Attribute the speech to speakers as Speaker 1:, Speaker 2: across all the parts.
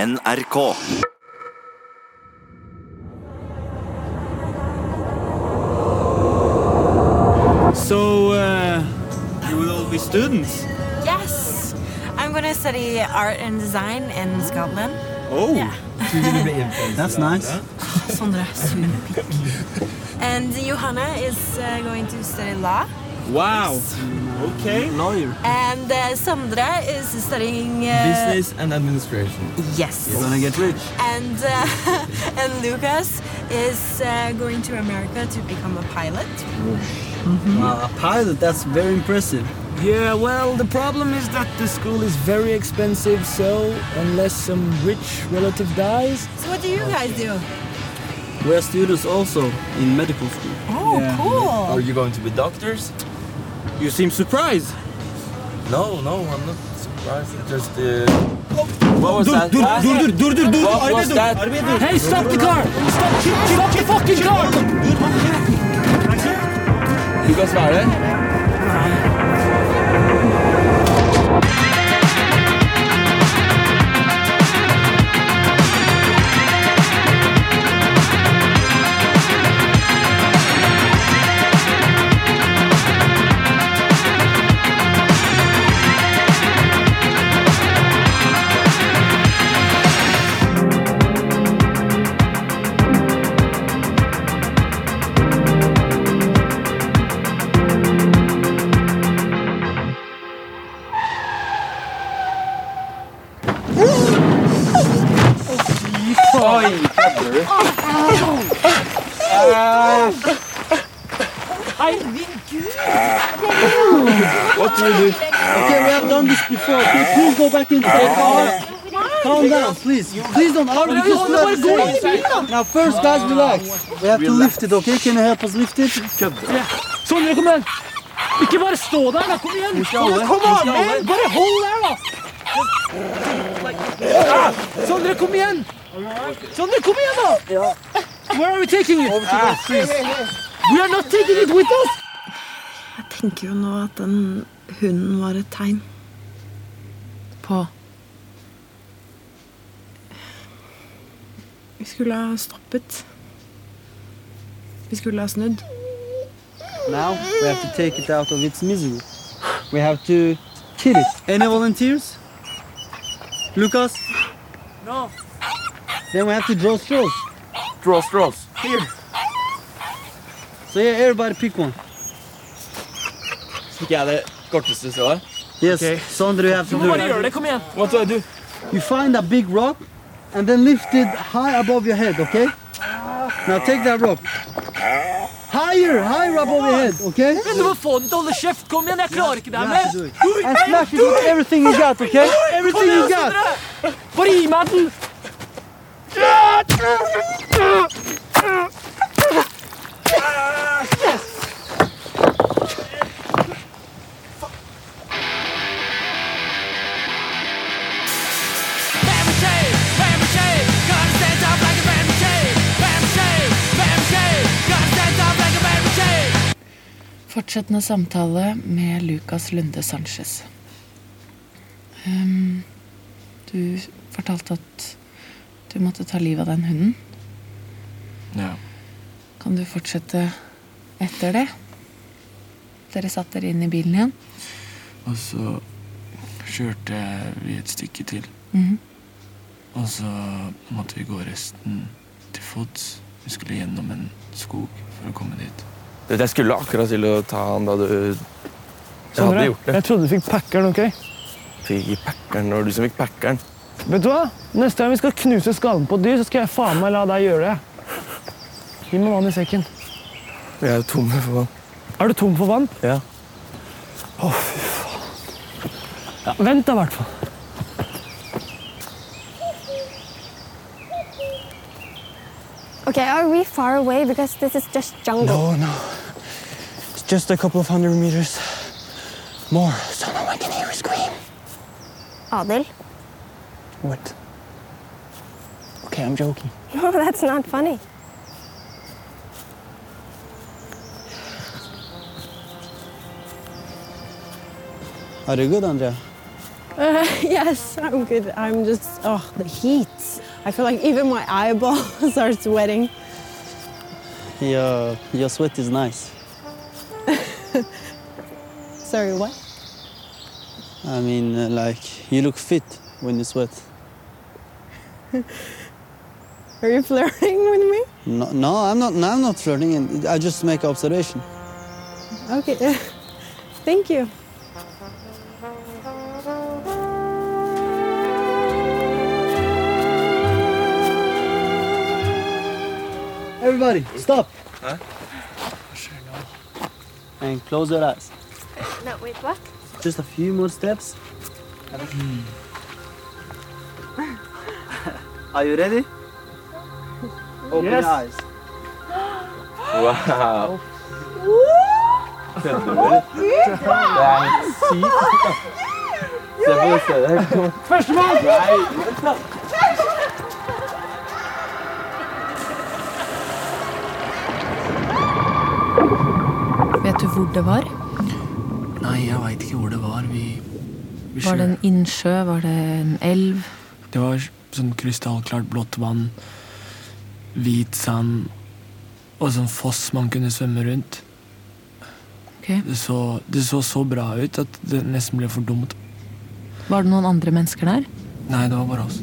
Speaker 1: NRK.
Speaker 2: So, uh, you will all be students?
Speaker 3: Yes! I'm going to study art and design in Scotland.
Speaker 2: Oh, that's nice.
Speaker 3: Sondre, superpikk. And Johanna is uh, going to study law.
Speaker 2: Wow. Okay.
Speaker 4: Lawyer.
Speaker 3: And uh, Sondre is studying... Uh,
Speaker 4: Business and administration.
Speaker 3: Yes.
Speaker 2: Gonna get rich.
Speaker 3: And, uh, and Lucas is uh, going to America to become a pilot.
Speaker 5: Uh, a pilot, that's very impressive.
Speaker 4: Yeah, well, the problem is that the school is very expensive, so unless some rich relative dies.
Speaker 3: So what do you guys do?
Speaker 5: We're students also in medical school.
Speaker 3: Oh,
Speaker 4: Are
Speaker 3: cool!
Speaker 4: you going to be doctors?
Speaker 2: You seem surprised.
Speaker 4: No, no, I'm not surprised. Just. Uh... What was
Speaker 2: Dur,
Speaker 4: that?
Speaker 2: dur,
Speaker 4: Ah,
Speaker 2: dur, dur, dur, dur, dur.
Speaker 4: What
Speaker 2: Arabaya
Speaker 4: was
Speaker 2: dur,
Speaker 4: that?
Speaker 2: arabaya dur.
Speaker 4: Hey, stop the car! Stop! Stop the fucking car! Du kan svare.
Speaker 5: What do we do? Okay, we have done this before. Please, please go back into the car. Calm down, please. Please don't argue. Just relax. Now, first, guys, relax. We have to lift it, okay? Can you help us lift it?
Speaker 6: Sondre, kom igjen! Ikke bare stå der, da! Kom igjen!
Speaker 5: Ikke alle.
Speaker 6: Kom an, man! Bare hold der, da! Ah, Sondre, kom igjen! Sondre, kom igjen, da! Where are we taking it? Ah, We are not taking it with us!
Speaker 3: Jeg tenker jo nå at den hunden var et tegn. På?
Speaker 7: Vi skulle ha stoppet. Vi skulle ha snudd.
Speaker 5: Now, we have to take it out of its misery. We have to kill it. Any volunteers? Lucas? No. Then we have to draw straws.
Speaker 4: Draw straws.
Speaker 5: So, yeah, everybody pick one.
Speaker 4: Fikk jeg det korteste strået?
Speaker 5: Yes, Sondre, you have to do it.
Speaker 6: det, kom igjen!
Speaker 4: What do I do?
Speaker 5: You find a big rock and then lift it high above your head, okay? Now take that rock. Higher, higher above your head, okay?
Speaker 6: Du må få den til å holde kjeft! Kom igjen, jeg klarer ikke det her
Speaker 5: And
Speaker 6: mer!
Speaker 5: smash it with everything you got, okay? Everything you got.
Speaker 6: Bare gi meg den!
Speaker 4: er
Speaker 8: Fortsettende samtale med Lucas Lunde Sanchez. Ehm, du fortalte at du måtte ta livet av den hunden.
Speaker 4: Ja.
Speaker 8: Kan du fortsette etter det? Dere satt dere inn i bilen igjen.
Speaker 4: Og så kjørte vi et stykke til.
Speaker 8: Mhm.
Speaker 4: Og så måtte vi gå resten til fots. Vi skulle gjennom en skog for å komme dit. Jeg skulle akkurat til å ta han da du Jeg hadde gjort det.
Speaker 6: jeg trodde du fikk packeren, ok?
Speaker 4: Fikk i packeren. Det var du som fikk packeren.
Speaker 6: Vet du hva? Neste gang vi skal knuse skallen på et dyr, så skal jeg faen meg la deg gjøre det. Gi meg vann i sekken.
Speaker 4: Vi er jo tomme for vann.
Speaker 6: Er du tom for vann?
Speaker 4: Ja.
Speaker 6: Å, fy faen. Ja, vent da, i hvert fall.
Speaker 9: Okay, are we far away? Because this is just jungle.
Speaker 5: Oh no. It's just a couple of hundred meters more, so no one can hear you scream.
Speaker 9: Adil?
Speaker 5: What? Okay, I'm joking.
Speaker 9: No, that's not funny.
Speaker 5: Are you good, Andrea?
Speaker 7: Uh, yes, I'm good. I'm just, oh, the heat. I feel like even my eyeballs are sweating.
Speaker 5: Your, your sweat is nice.
Speaker 7: Sorry, what?
Speaker 5: I mean, uh, like, you look fit when you sweat.
Speaker 7: Are you flirting with me?
Speaker 5: No, no I'm not. I'm not flirting. and I just make observation.
Speaker 7: Okay. Thank you.
Speaker 5: Everybody, stop. And close your eyes.
Speaker 9: No, wait, what?
Speaker 5: Just a few more steps. Hmm. Are you ready? Open your eyes.
Speaker 4: Wow. Det er helt sykt. Se på det stedet. Førstemann! Nei.
Speaker 8: Vet du hvor det var?
Speaker 4: Nei, jeg veit ikke hvor det var. Vi, vi
Speaker 8: Var det en
Speaker 4: skjø-
Speaker 8: innsjø? Var det en elv?
Speaker 4: Det var sånn krystallklart blått vann, hvit sand og sånn foss man kunne svømme rundt.
Speaker 8: Ok.
Speaker 4: Det så, det så så bra ut at det nesten ble for dumt.
Speaker 8: Var det noen andre mennesker der?
Speaker 4: Nei, det var bare oss.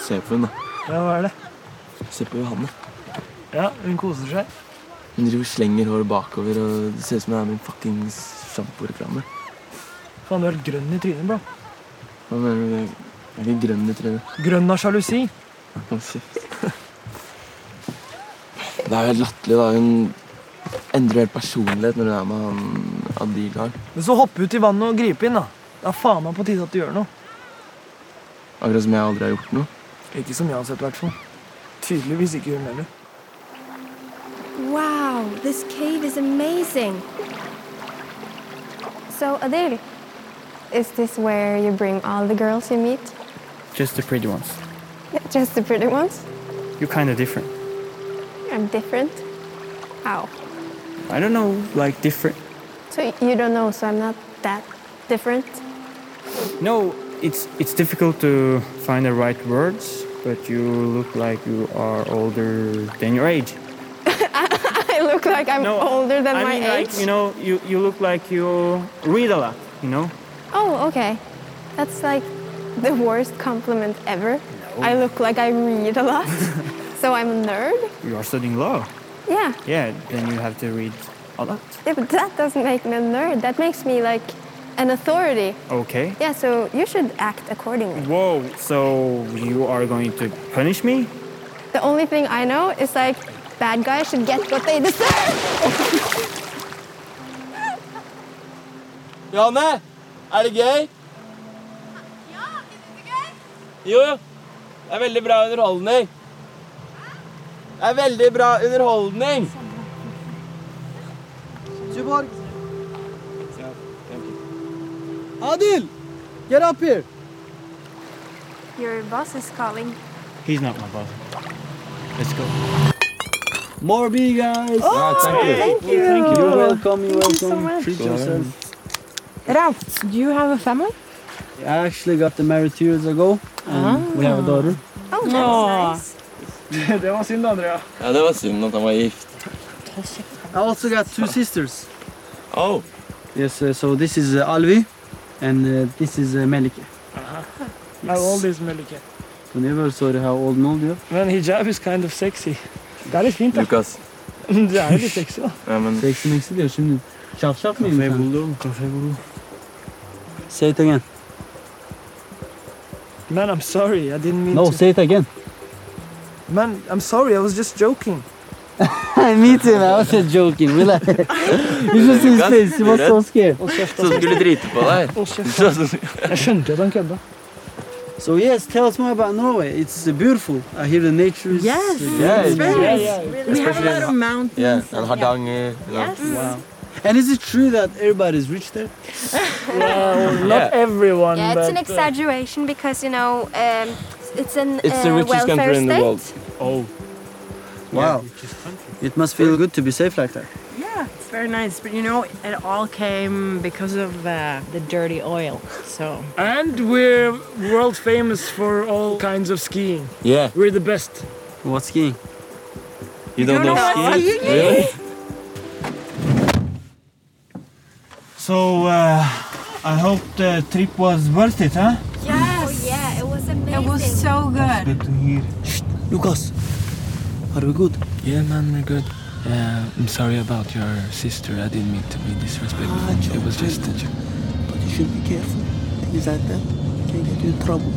Speaker 2: Se på hun, da.
Speaker 6: Ja, hva er det?
Speaker 2: Se på Johanne.
Speaker 6: Ja, hun koser seg.
Speaker 2: Hun driver og slenger håret bakover, og det ser ut som hun er med i en fuckings sjamporeklame.
Speaker 6: Faen, du er helt grønn i trynet, bro.
Speaker 2: Hva mener du? Jeg er ikke grønn i trynet.
Speaker 6: Grønn av sjalusi.
Speaker 2: Å, shit. Det er jo helt latterlig, da. Hun endrer helt personlighet når hun er med han Adil her.
Speaker 6: Men så hoppe ut i vannet og gripe inn, da. Det er faen meg på tide at du gjør noe.
Speaker 2: Akkurat som jeg aldri har gjort noe.
Speaker 6: Ikke som jeg har sett, i hvert fall. Tydeligvis ikke hun heller.
Speaker 9: Wow, this cave is amazing. So, Adil, is this where you bring all the girls you meet?
Speaker 1: Just the pretty ones.
Speaker 9: Just the pretty ones?
Speaker 1: You're kind of different.
Speaker 9: I'm different. How?
Speaker 1: I don't know, like different.
Speaker 9: So, you don't know, so I'm not that different?
Speaker 1: No, it's it's difficult to find the right words, but you look like you are older than your age.
Speaker 9: I look like I'm
Speaker 1: No,
Speaker 9: older than
Speaker 1: I
Speaker 9: my
Speaker 1: mean,
Speaker 9: age.
Speaker 1: like you know, you you look like you read a lot. You know,
Speaker 9: Oh, okay. That's like the worst compliment ever. I look like I read a lot. so, I'm a nerd?
Speaker 1: you are studying law.
Speaker 9: Yeah.
Speaker 1: Yeah, then you have to read a lot.
Speaker 9: Yeah, but that doesn't make me a nerd. That makes me like an authority.
Speaker 1: Okay.
Speaker 9: Yeah, so you should act accordingly.
Speaker 1: Whoa. So you are going to punish me?
Speaker 9: The only thing I know is like bad guys should get what they deserve.
Speaker 6: Johanne, er det gøy? Jo, jo. Det er veldig bra underholdning. Det er veldig bra underholdning.
Speaker 5: Tuborg. Adil, get up here.
Speaker 9: Your boss is calling.
Speaker 1: He's not my boss. Let's go.
Speaker 5: More bee guys.
Speaker 2: Oh!
Speaker 7: Thank you.
Speaker 5: You're welcome. You're welcome.
Speaker 7: Thank you so much.
Speaker 5: Treat yourself.
Speaker 7: Ralph, do you have a family?
Speaker 5: I actually got married two years ago, and we have a daughter.
Speaker 9: Oh, that's
Speaker 7: Aw.
Speaker 9: nice.
Speaker 6: Det var synd, Andrea.
Speaker 4: Ja, det var synd at han var gift.
Speaker 5: I also got two sisters.
Speaker 4: Oh.
Speaker 5: Yes. Uh, so this is uh, Alvi, and uh, this is uh, Melike.
Speaker 6: How old is Melike?
Speaker 5: So never sorry how old Mel you are.
Speaker 6: Men hijab is kind of sexy. Det er litt fint, da.
Speaker 2: Lukas.
Speaker 6: Det er jo litt sexy, da.
Speaker 2: Ja, men
Speaker 5: Seksi meksi diyor şimdi. Şafşaf mıyım sen?
Speaker 1: buldum, kafayı buldum.
Speaker 5: Say it again.
Speaker 6: Man, I'm sorry. I didn't mean
Speaker 5: No,
Speaker 6: to.
Speaker 5: say it again.
Speaker 6: Man, I'm sorry. I was just joking.
Speaker 5: Me too, I was just joking. Relax. you should see his face. He was so scared.
Speaker 4: Så du skulle drite på deg?
Speaker 6: Å, kjeft. Jeg skjønte at han kødda.
Speaker 5: So yes, tell us more about Norway. It's uh, beautiful. I hear the nature is uh,
Speaker 7: Yes.
Speaker 2: Yeah,
Speaker 7: It's very
Speaker 6: Yeah,
Speaker 7: nice.
Speaker 6: yeah.
Speaker 7: We have a lot of mountains.
Speaker 2: yeah, and Hardanger. Yeah.
Speaker 7: Yes.
Speaker 5: Wow. And is it true that everybody's rich there?
Speaker 6: Well, not everyone,
Speaker 9: Yeah, it's an
Speaker 6: but uh,
Speaker 9: exaggeration because you know um, it's an
Speaker 2: It's the
Speaker 9: uh,
Speaker 2: richest
Speaker 9: welfare
Speaker 2: country in the
Speaker 9: state.
Speaker 2: world.
Speaker 1: Oh,
Speaker 5: Wow. It must feel good to be safe like that.
Speaker 10: Yeah, it's very nice. But you know, it all came because of uh, the dirty oil. So
Speaker 6: And we're world famous for all kinds of skiing.
Speaker 2: Yeah.
Speaker 6: We're the best.
Speaker 5: What's skiing?
Speaker 2: You don't
Speaker 3: Oh,
Speaker 2: know skiing? Really?
Speaker 1: So uh, I hope the trip was worth it, huh?
Speaker 9: Yes. Oh, yeah, it was amazing.
Speaker 8: It was so good.
Speaker 1: Good to hear.
Speaker 5: Lucas, are we good?
Speaker 4: Yeah, man, we're good. Uh, I'm sorry about your sister. I didn't mean to be disrespectful.
Speaker 5: Ah,
Speaker 4: it was
Speaker 5: Joe,
Speaker 4: just a joke.
Speaker 5: But you should be careful. Things like that can get you in trouble.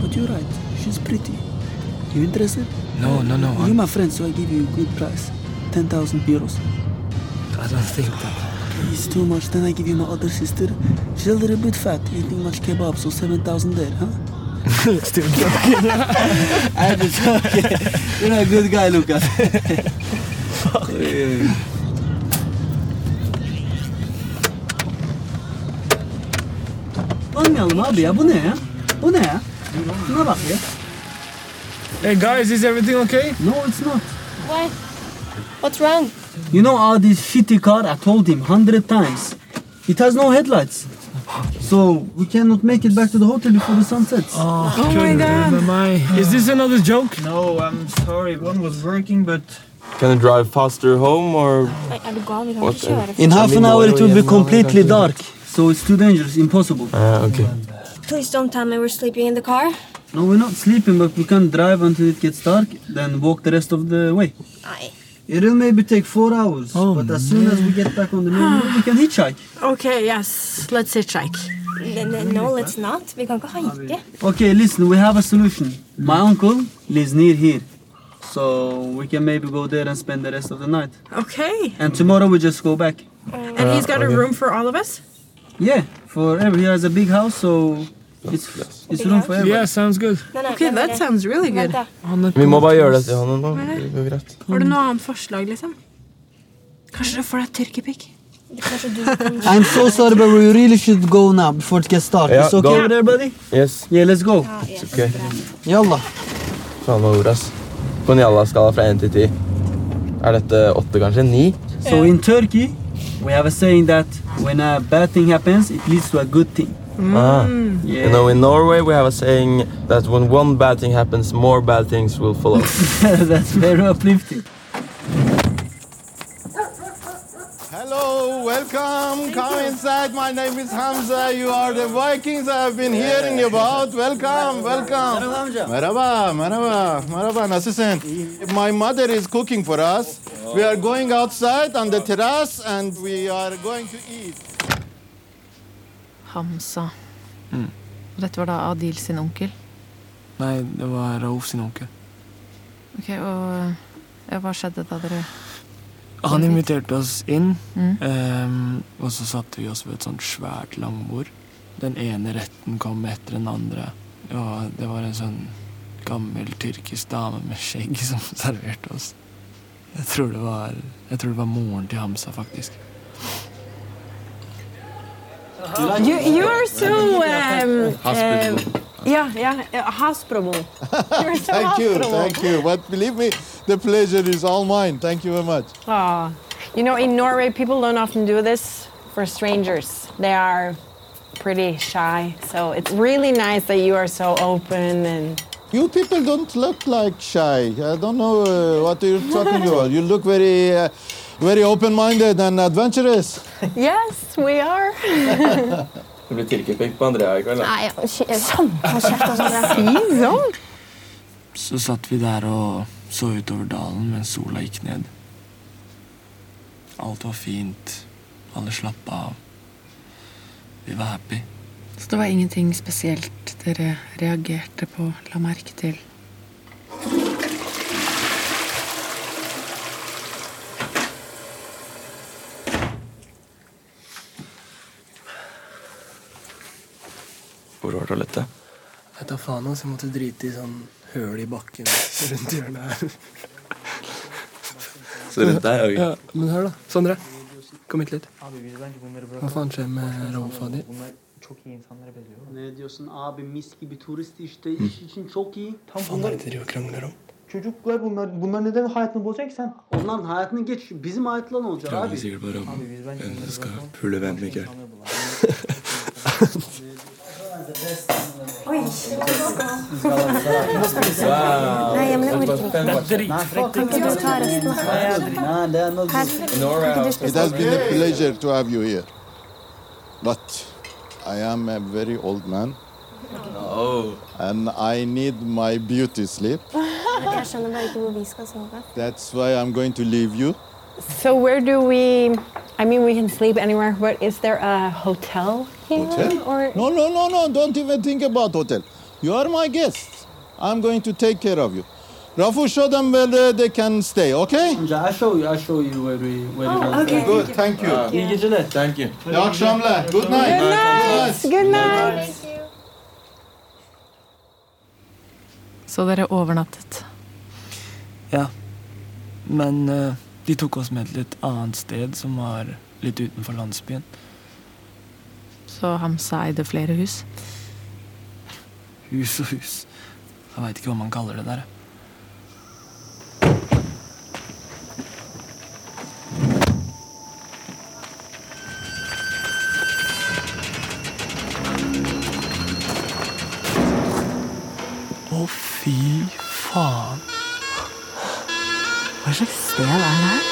Speaker 5: But you're right. She's pretty. You interested?
Speaker 4: No, no, no.
Speaker 5: You're
Speaker 4: I'm,
Speaker 5: my friend, so I give you a good price. 10,000 euros.
Speaker 4: I don't think that.
Speaker 5: It's too much. Then I give you my other sister. She's a little bit fat, eating much kebab, so 7,000 there, huh? Still joking. I'm just joking. You're a good guy, Lucas. Anlayalım abi ya bu ne ya? Bu ne ya? Şuna bak ya.
Speaker 6: Hey guys, is everything okay?
Speaker 5: No it's not.
Speaker 10: why? What's wrong?
Speaker 5: You know how this shitty car I told him hundred times. It has no headlights. So we cannot make it back to the hotel before the sun sets.
Speaker 8: Oh my god.
Speaker 6: Is this another joke?
Speaker 1: No, I'm sorry. One was working, but
Speaker 2: Can you drive faster home or
Speaker 9: Nei, er du gal? Vi kan
Speaker 2: What
Speaker 9: ikke
Speaker 2: the-
Speaker 9: kjøre.
Speaker 5: In half an hour it will be completely dark. So it's too dangerous, impossible.
Speaker 6: Ah,
Speaker 2: uh, okay.
Speaker 9: Please don't tell me we're sleeping in the car.
Speaker 5: No, we're not sleeping, but we can drive until it gets dark, then walk the rest of the way.
Speaker 9: Nei.
Speaker 5: It'll maybe take four hours,
Speaker 6: Oh,
Speaker 5: but as soon as we get back on the main road, we can hitchhike.
Speaker 10: Okay, yes. Let's hitchhike.
Speaker 9: N- n- No, let's not. Vi kan ikke haike.
Speaker 5: Okay, listen, we have a solution. My uncle lives near here, so we can maybe go there and spend the rest of the night.
Speaker 10: Okay.
Speaker 5: And tomorrow we just go back.
Speaker 10: And he's got a room for all of us?
Speaker 5: Yeah, forever. He has a big house, so it's it's room for everyone.
Speaker 6: Yeah, sounds good.
Speaker 9: Nei, nei,
Speaker 10: Okay,
Speaker 9: nei, nei,
Speaker 10: that
Speaker 9: nei.
Speaker 10: sounds really good.
Speaker 9: Vent, da.
Speaker 2: Vi må bare gjøre dette, Johanne. nå. Det går greit.
Speaker 10: Har du noe annet forslag, liksom? Kanskje du får deg tyrkerpikk?
Speaker 9: Kanskje du kan
Speaker 5: I'm so sorry, but we really should go now before it gets dark.
Speaker 2: Yeah,
Speaker 5: it's okay
Speaker 2: go.
Speaker 5: with everybody?
Speaker 2: Yes.
Speaker 5: Yeah, let's go.
Speaker 2: It's okay.
Speaker 5: Yalla.
Speaker 2: Faen hva ordet, ass. På en jalla-skala fra 1 til 10 er dette 8, kanskje? 9?
Speaker 5: So in Turkey, we have a saying that when a bad thing happens, it leads to a good thing.
Speaker 11: Mm.
Speaker 2: Ah.
Speaker 5: Yeah.
Speaker 2: You know, in Norway we have a saying that when one bad thing happens, more bad things will follow.
Speaker 5: That's very uplifting.
Speaker 11: Hello, welcome. Come inside. My name is Hamza. You are the Vikings I've been hearing about. Welcome, welcome. Merhaba, merhaba, merhaba. Nasılsın? My mother is cooking for us. We are going outside on the terrace and we are going to eat.
Speaker 8: Hamsa. Og dette var da Adil sin onkel.
Speaker 4: Nei, det var Raouf sin onkel.
Speaker 8: Ok, og ja, hva skjedde da dere
Speaker 4: Han inviterte oss inn,
Speaker 8: Mm.
Speaker 4: ehm, og så satte vi oss ved et sånt svært langbord. Den ene retten kom etter den andre, og det var en sånn gammel tyrkisk dame med skjegg som serverte oss. Jeg tror det var, jeg tror det var moren til Hamsa, faktisk.
Speaker 7: You, you are so. Um, um, yeah, yeah, uh, hospitable. You're so
Speaker 11: Thank you,
Speaker 7: hospitable.
Speaker 11: thank you. But believe me, the pleasure is all mine. Thank you very much.
Speaker 7: Aw. Ah, You know, in Norway, people don't often do this for strangers. They are pretty shy. So it's really nice that you are so open and.
Speaker 11: You people don't look like shy. I don't know uh, what you're talking about. You look very, uh, very open-minded and adventurous.
Speaker 7: Yes, we are.
Speaker 2: Det blir tyrkerpikk på Andrea i kveld. da.
Speaker 9: Nei, sånn! Hold kjeft, altså.
Speaker 4: Så satt vi der og så utover dalen mens sola gikk ned. Alt var fint. Alle slappa av. Vi var happy.
Speaker 8: Så det var ingenting spesielt dere reagerte på, la merke til?
Speaker 2: Hvor var toalettet?
Speaker 6: Jeg tar faen, altså. Jeg måtte drite i sånn høl i bakken rundt hjørnet her.
Speaker 2: Så rundt der, ok.
Speaker 6: Ja, men hør, da. Sondre. Kom hit litt. Hva faen skjer med Rolfa di?
Speaker 4: çok iyi insanlara benziyor.
Speaker 5: Ne diyorsun abi mis gibi turist işte iş için çok iyi. Tam bunlar,
Speaker 4: reklamları. Çocuklar bunlar, bunlar neden hayatını bozacak ki sen?
Speaker 5: onların hayatını geç bizim hayatla ne olacak abi?
Speaker 2: Kravinize gir bara.
Speaker 4: Abi biz bence bunları bırakalım.
Speaker 2: Pule Wendlinger.
Speaker 12: Oi.
Speaker 13: Nei,
Speaker 12: jeg mener orker ikke.
Speaker 13: ikke.
Speaker 12: Du tar resten.
Speaker 14: It has been a pleasure to have you here. But I am a very old man. No. And I need my beauty sleep.
Speaker 9: Jeg skjønner bare ikke hvor vi skal sove.
Speaker 14: That's why I'm going to leave you.
Speaker 7: So where do we? I mean, we can sleep anywhere, but is there a hotel here? Or
Speaker 14: No, no, no, no. Don't even think about hotel. You are my guests. I'm going to take care of you. Rafu, show them where uh, they can stay, okay? I show you. I show you where we where
Speaker 5: we can okay. stay.
Speaker 14: Good. Oh, Thank you.
Speaker 5: İyi geceler.
Speaker 14: Thank you. İyi akşamlar. Good night.
Speaker 7: Good night. Good night.
Speaker 8: Så dere overnattet.
Speaker 4: Ja. Men eh, de tok oss med til et annet sted som var litt utenfor landsbyen.
Speaker 8: Så Hamsa eide flere hus.
Speaker 4: Hus og hus. Jeg veit ikke hva man kaller det der. Å, fy faen.
Speaker 12: Hva slags sted er det her?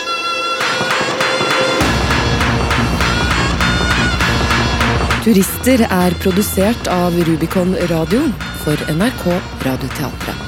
Speaker 15: Turister er produsert av Rubicon Radio for NRK Radioteatret.